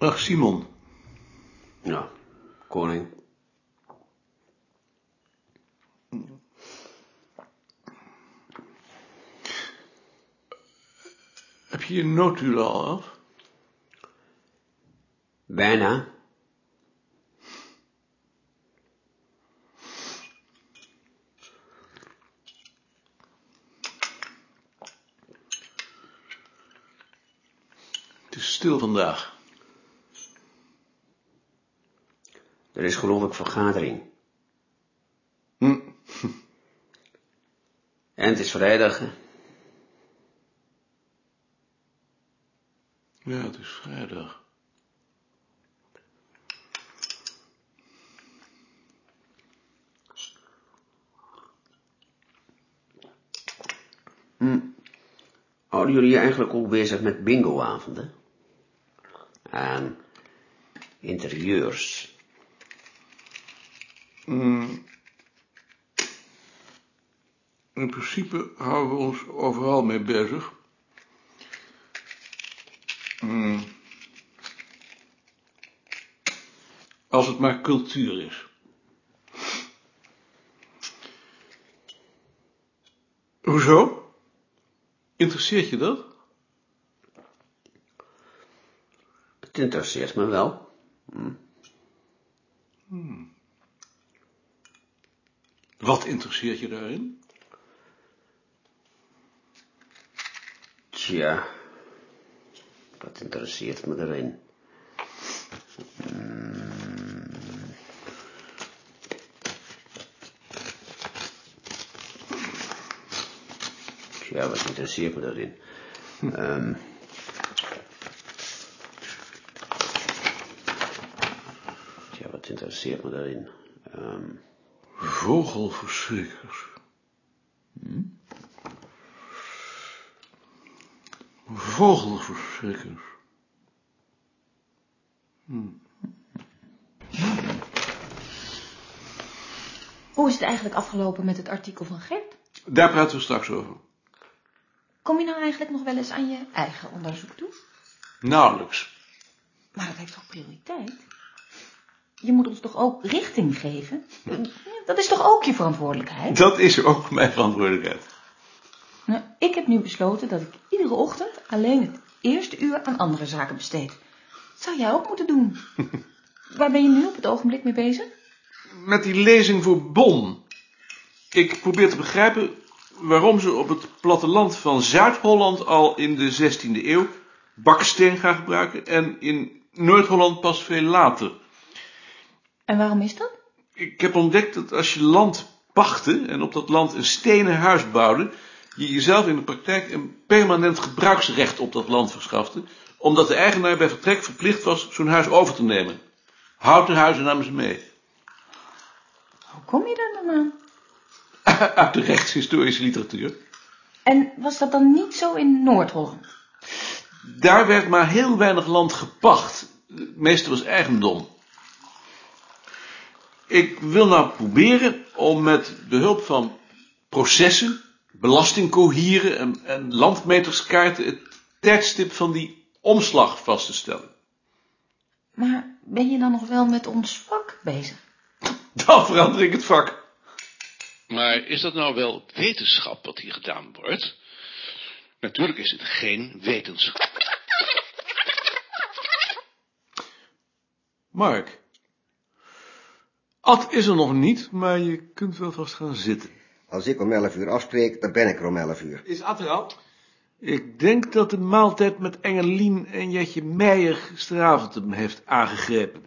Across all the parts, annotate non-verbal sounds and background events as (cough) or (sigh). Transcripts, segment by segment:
Dag Simon. Ja, koning. Heb je je noodhulen al af? Bijna. Het is stil vandaag. Er is geloof ik vergadering. Hm. En het is vrijdag. hè? Ja, het is vrijdag. Houden jullie je eigenlijk ook bezig met bingoavonden? En interieurs. Hm. In principe houden we ons overal mee bezig. Hm. Als het maar cultuur is. Hoezo? Interesseert je dat? Het interesseert me wel. Wat interesseert je daarin? Tja, dat interesseert me erin. Mm. Tja, wat interesseert me daarin? Ehm, tja, wat interesseert me daarin? Ehm, Vogelverschrikkers. Hm? Vogelverschrikkers. Hoe is het eigenlijk afgelopen met het artikel van Gert? Daar praten we straks over. Kom je nou eigenlijk nog wel eens aan je eigen onderzoek toe? Nauwelijks. Maar dat heeft toch prioriteit? Je moet ons toch ook richting geven? Dat is toch ook je verantwoordelijkheid? Dat is ook mijn verantwoordelijkheid. Nou, ik heb nu besloten dat ik iedere ochtend alleen het eerste uur aan andere zaken besteed. Dat zou jij ook moeten doen. Waar ben je nu op het ogenblik mee bezig? Met die lezing voor Bon. Ik probeer te begrijpen waarom ze op het platteland van Zuid-Holland al in de 16e eeuw baksteen gaan gebruiken en in Noord-Holland pas veel later. En waarom is dat? Ik heb ontdekt dat als je land pachtte en op dat land een stenen huis bouwde, je jezelf in de praktijk een permanent gebruiksrecht op dat land verschafte, omdat de eigenaar bij vertrek verplicht was zo'n huis over te nemen. Houten huizen namen ze mee. (laughs) Hoe kom je daar dan aan? Uit de rechtshistorische literatuur. En was dat dan niet zo in Noord-Holland? Daar werd maar heel weinig land gepacht. Het meeste was eigendom. Ik wil nou proberen om met behulp van processen, belastingcohieren en, en landmeterskaarten het tijdstip van die omslag vast te stellen. Maar ben je dan nog wel met ons vak bezig? Dan verander ik het vak. Maar is dat nou wel wetenschap wat hier gedaan wordt? Natuurlijk is het geen wetenschap. Mark, Ad is er nog niet, maar je kunt wel vast gaan zitten. Als ik om 11 uur afspreek, dan ben ik er om 11 uur. Is Ad er al? Ik denk dat de maaltijd met Engelien en Jetje Meijer gisteravond hem heeft aangegrepen.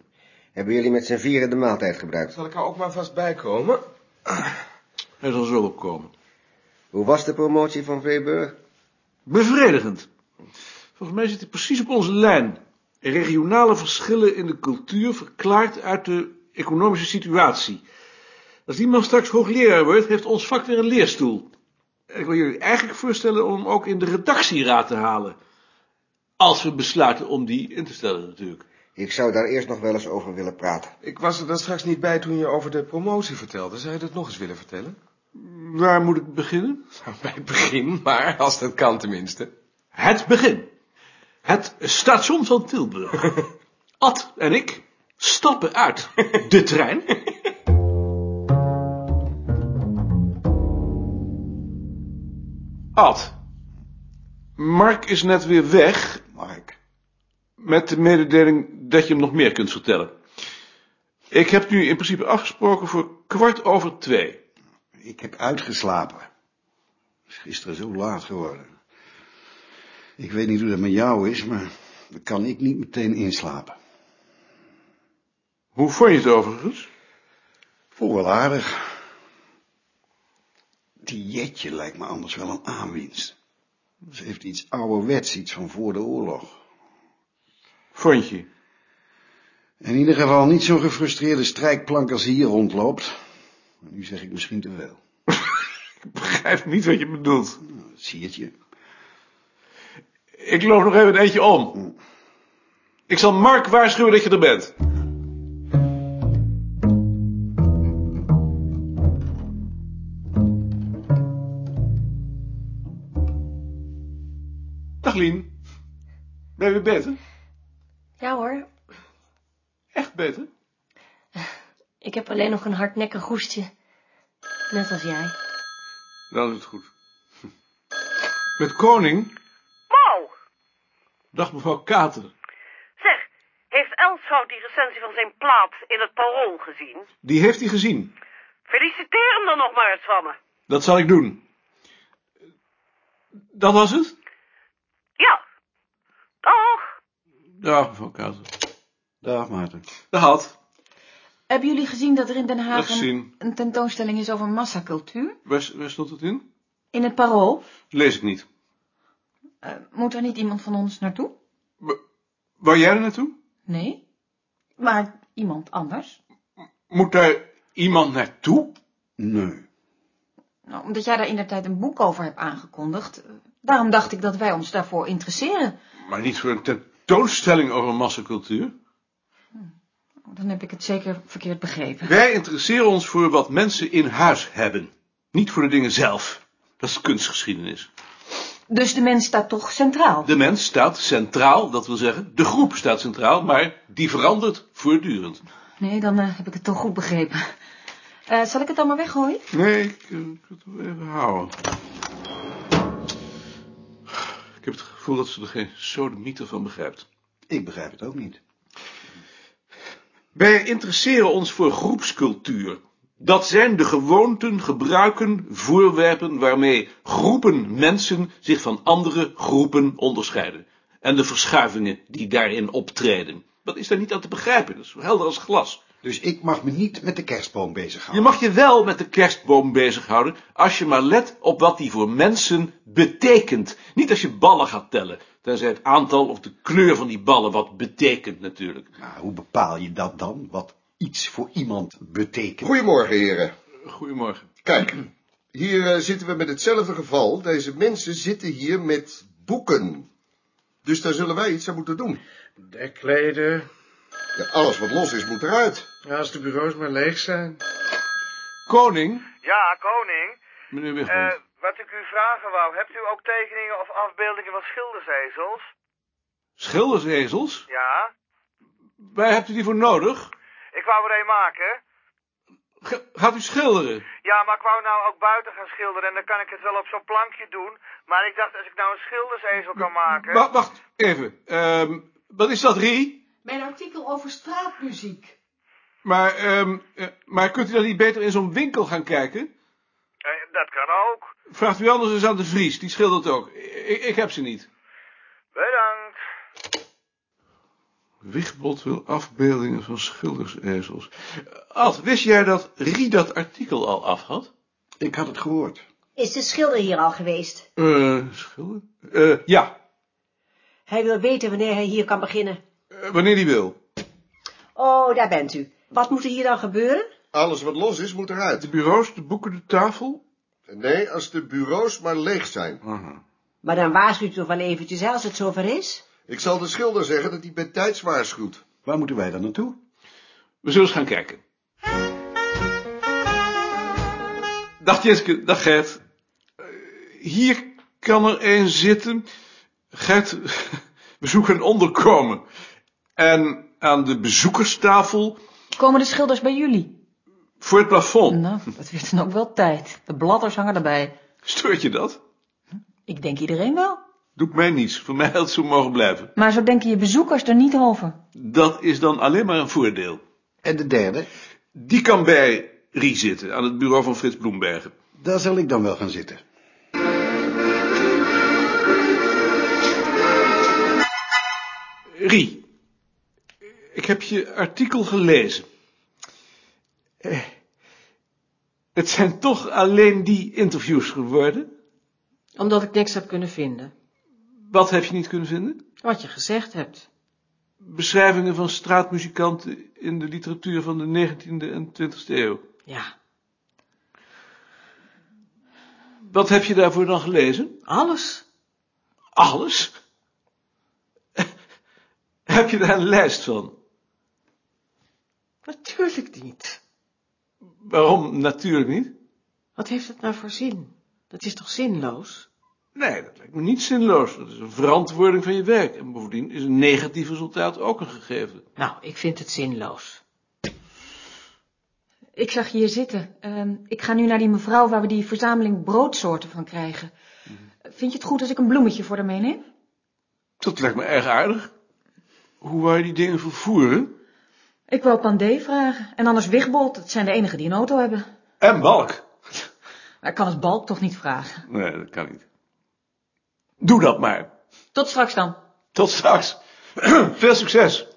Hebben jullie met z'n vieren de maaltijd gebruikt? Zal ik er ook maar vast bij komen? Hij zal zo opkomen. Hoe was de promotie van Vreeburg? Bevredigend. Volgens mij zit hij precies op onze lijn. Regionale verschillen in de cultuur verklaard uit de economische situatie. Als die man straks hoogleraar wordt, heeft ons vak weer een leerstoel. Ik wil jullie eigenlijk voorstellen om hem ook in de redactieraad te halen. Als we besluiten om die in te stellen natuurlijk. Ik zou daar eerst nog wel eens over willen praten. Ik was er dan straks niet bij toen je over de promotie vertelde. Zou je dat nog eens willen vertellen? (laughs) Waar moet ik beginnen? Bij het begin, maar als dat kan tenminste. (laughs) Het begin. Het station van Tilburg. Ad en ik stappen uit de trein. Ad, Mark is net weer weg Mark. met de mededeling dat je hem nog meer kunt vertellen. Ik heb nu in principe afgesproken voor kwart over twee. Ik heb uitgeslapen. Het is gisteren zo laat geworden. Ik weet niet hoe dat met jou is, maar dan kan ik niet meteen inslapen. Hoe vond je het overigens? Voel wel aardig. Die jetje lijkt me anders wel een aanwinst. Ze heeft iets ouderwets, iets van voor de oorlog. Vond je? In ieder geval niet zo'n gefrustreerde strijkplank als die hier rondloopt. Maar Nu zeg ik misschien te veel. Ik begrijp niet wat je bedoelt. Nou, dat zie het je. Ik loop nog even een eentje om. Ik zal Mark waarschuwen dat je er bent. Dag Lien. Ben je weer beter? Ja hoor, Echt beter? ik heb alleen nog een hardnekkig hoestje. Net als jij. Dan is het goed. (laughs) Met koning. Wow! Dag mevrouw Kater. Zeg, heeft Elshout die recensie van zijn plaat in het parool gezien? Die heeft hij gezien. Feliciteer hem dan nog maar eens van me. Dat zal ik doen. Dat was het? Ja. Toch? Dag mevrouw Kater. Dag Maarten. Dat had. Hebben jullie gezien dat er in Den Dat Haag gezien. een, een tentoonstelling is over massacultuur? Waar, waar stond het in? In het parool. Lees ik niet. Eh, moet er niet iemand van ons naartoe? Waar jij er naartoe? Nee. Maar iemand anders? Moet daar iemand naartoe? Nee. Nou, omdat jij daar in de tijd een boek over hebt aangekondigd. eh, Daarom dacht ik dat wij ons daarvoor interesseren. Maar niet voor een tentoonstelling over massacultuur. Nou, Dan heb ik het zeker verkeerd begrepen. Wij interesseren ons voor wat mensen in huis hebben. Niet voor de dingen zelf. Dat is kunstgeschiedenis. Dus de mens staat toch centraal? De mens staat centraal, dat wil zeggen, de groep staat centraal, maar die verandert voortdurend. Nee, dan eh, heb ik het toch goed begrepen. Eh, zal ik het dan maar weggooien? Nee, ik eh, ik moet het wel even houden. Ik heb het gevoel dat ze er geen sodemieter van begrijpt. Ik begrijp het ook niet. Wij interesseren ons voor groepscultuur. Dat zijn de gewoonten, gebruiken, voorwerpen waarmee groepen mensen zich van andere groepen onderscheiden. En de verschuivingen die daarin optreden. Dat is daar niet aan te begrijpen, dat is zo helder als glas. Dus ik mag me niet met de kerstboom bezighouden. Je mag je wel met de kerstboom bezighouden als je maar let op wat die voor mensen betekent. Niet als je ballen gaat tellen, tenzij het aantal of de kleur van die ballen wat betekent natuurlijk. Maar Ah, hoe bepaal je dat dan? Wat iets voor iemand betekent? Goedemorgen, heren. Goedemorgen. Kijk, hier eh, zitten we met hetzelfde geval. Deze mensen zitten hier met boeken. Dus daar zullen wij iets aan moeten doen. Dekleden, Ja, alles wat los is, moet eruit. als de bureaus maar leeg zijn. Koning, Ja, koning. Eh, meneer Wigmond. wat ik u vragen wou, hebt u ook tekeningen of afbeeldingen van schildersezels? Schildersezels? Ja. Waar hebt u die voor nodig? Ik wou er een maken. Ga- gaat u schilderen? Ja, maar ik wou nou ook buiten gaan schilderen en dan kan ik het wel op zo'n plankje doen. Maar ik dacht, als ik nou een schildersezel kan maken... Wa- wacht even. Ehm, wat is dat, Rie? Mijn artikel over straatmuziek. Maar, ehm, eh, maar kunt u dan niet beter in zo'n winkel gaan kijken? Eh, dat kan ook. Vraagt u anders eens aan de Vries, die schildert ook. Ik, ik heb ze niet. Bedankt. Wigbot wil afbeeldingen van schildersezels. Eh, Ad, wist jij dat Rie dat artikel al af had? Ik had het gehoord. Is de schilder hier al geweest? Eh, schilder? Eh, ja, Hij wil weten wanneer hij hier kan beginnen. Eh, wanneer die wil. Oh, daar bent u. Wat moet er hier dan gebeuren? Alles wat los is, moet De eruit. bureaus, de boeken, de tafel. Nee, als de bureaus maar leeg zijn. Maar dan waarschuwt u toch wel eventjes hè, als het zover is? Ik zal de schilder zeggen dat hij bij tijds waarschuwt. Waar moeten wij dan naartoe? We zullen eens gaan kijken. Dag Jitske, dag Gert. Eh, Hier kan er één (laughs) zitten. Gert, we zoeken een onderkomen. En aan de bezoekerstafel Komen de schilders bij jullie? voor het plafond. Nou, dat werd dan ook wel tijd. De bladders hangen erbij. Stoort je dat? Ik denk iedereen wel. Doet mij niets. Voor mij had het zo mogen blijven. Maar zo denken je bezoekers er niet over. Dat is dan alleen maar een voordeel. En de derde? Die kan bij Rie zitten, aan het bureau van Frits Bloembergen. Daar zal ik dan wel gaan zitten. Rie, ik heb je artikel gelezen. Eh, Het zijn toch alleen die interviews geworden? Omdat ik niks heb kunnen vinden. Wat heb je niet kunnen vinden? Wat je gezegd hebt. Beschrijvingen van straatmuzikanten in de literatuur van de 19e en 20e eeuw. Ja, Wat heb je daarvoor dan gelezen? alles. Alles? (laughs) heb je daar een lijst van? Natuurlijk niet. Waarom natuurlijk niet? Wat heeft het nou voor zin? Dat is toch zinloos? Nee, dat lijkt me niet zinloos. Dat is een verantwoording van je werk. En bovendien is een negatief resultaat ook een gegeven. Nou, ik vind het zinloos. Ik zag je hier zitten. Ehm, ik ga nu naar die mevrouw waar we die verzameling broodsoorten van krijgen. Mhm. Vind je het goed als ik een bloemetje voor haar meeneem? Dat lijkt me erg aardig. Hoe wou je die dingen vervoeren? Ik wou Pandé vragen. En anders Wigbold. Dat zijn de enigen die een auto hebben. En balk. Maar ik kan het Balk toch niet vragen. Nee, dat kan niet. Doe dat maar. Tot straks dan. Tot straks. (clears throat) Veel succes.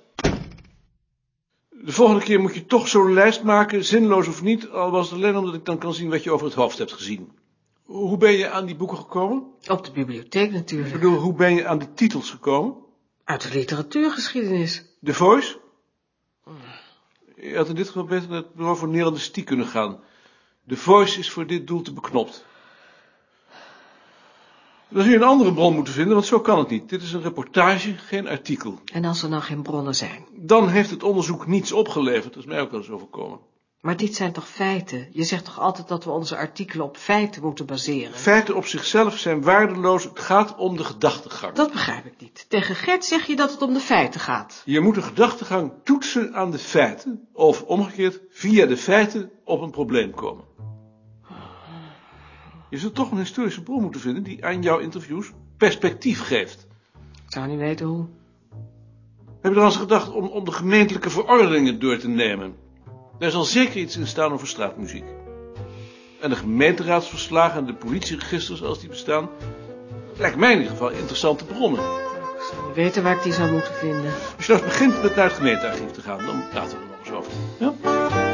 De volgende keer moet je toch zo'n lijst maken, zinloos of niet, al was het alleen omdat ik dan kan zien wat je over het hoofd hebt gezien. Hoe ben je aan die boeken gekomen? Op de bibliotheek Ik natuurlijk. bedoel, hoe ben je aan de titels gekomen? Uit de literatuurgeschiedenis. De Voice? Je had in dit geval beter naar het bureau voor Nederlandestie kunnen gaan. De Voice is voor dit doel te beknopt. Dan zul je een andere bron moeten vinden, want zo kan het niet. Dit is een reportage, geen artikel. En als er nou geen bronnen zijn. Dan heeft het onderzoek niets opgeleverd. Dat is mij ook wel eens overkomen. Maar dit zijn toch feiten? Je zegt toch altijd dat we onze artikelen op feiten moeten baseren? Feiten op zichzelf zijn waardeloos. Het gaat om de gedachtegang. Dat begrijp ik niet. Tegen Gert zeg je dat het om de feiten gaat. Je moet de gedachtegang toetsen aan de feiten. Of omgekeerd, via de feiten op een probleem komen. Je zult toch een historische bron moeten vinden die aan jouw interviews perspectief geeft. Ik zou niet weten hoe. Heb je er al eens gedacht om, om de gemeentelijke verordeningen door te nemen? Daar zal zeker iets in staan over straatmuziek. En de gemeenteraadsverslagen en de politieregisters als die bestaan, lijkt mij in ieder geval interessante bronnen. Ik zou niet weten waar ik die zou moeten vinden. Als je nou eens begint met naar het gemeentearchief te gaan, dan praten we er nog eens over. Ja?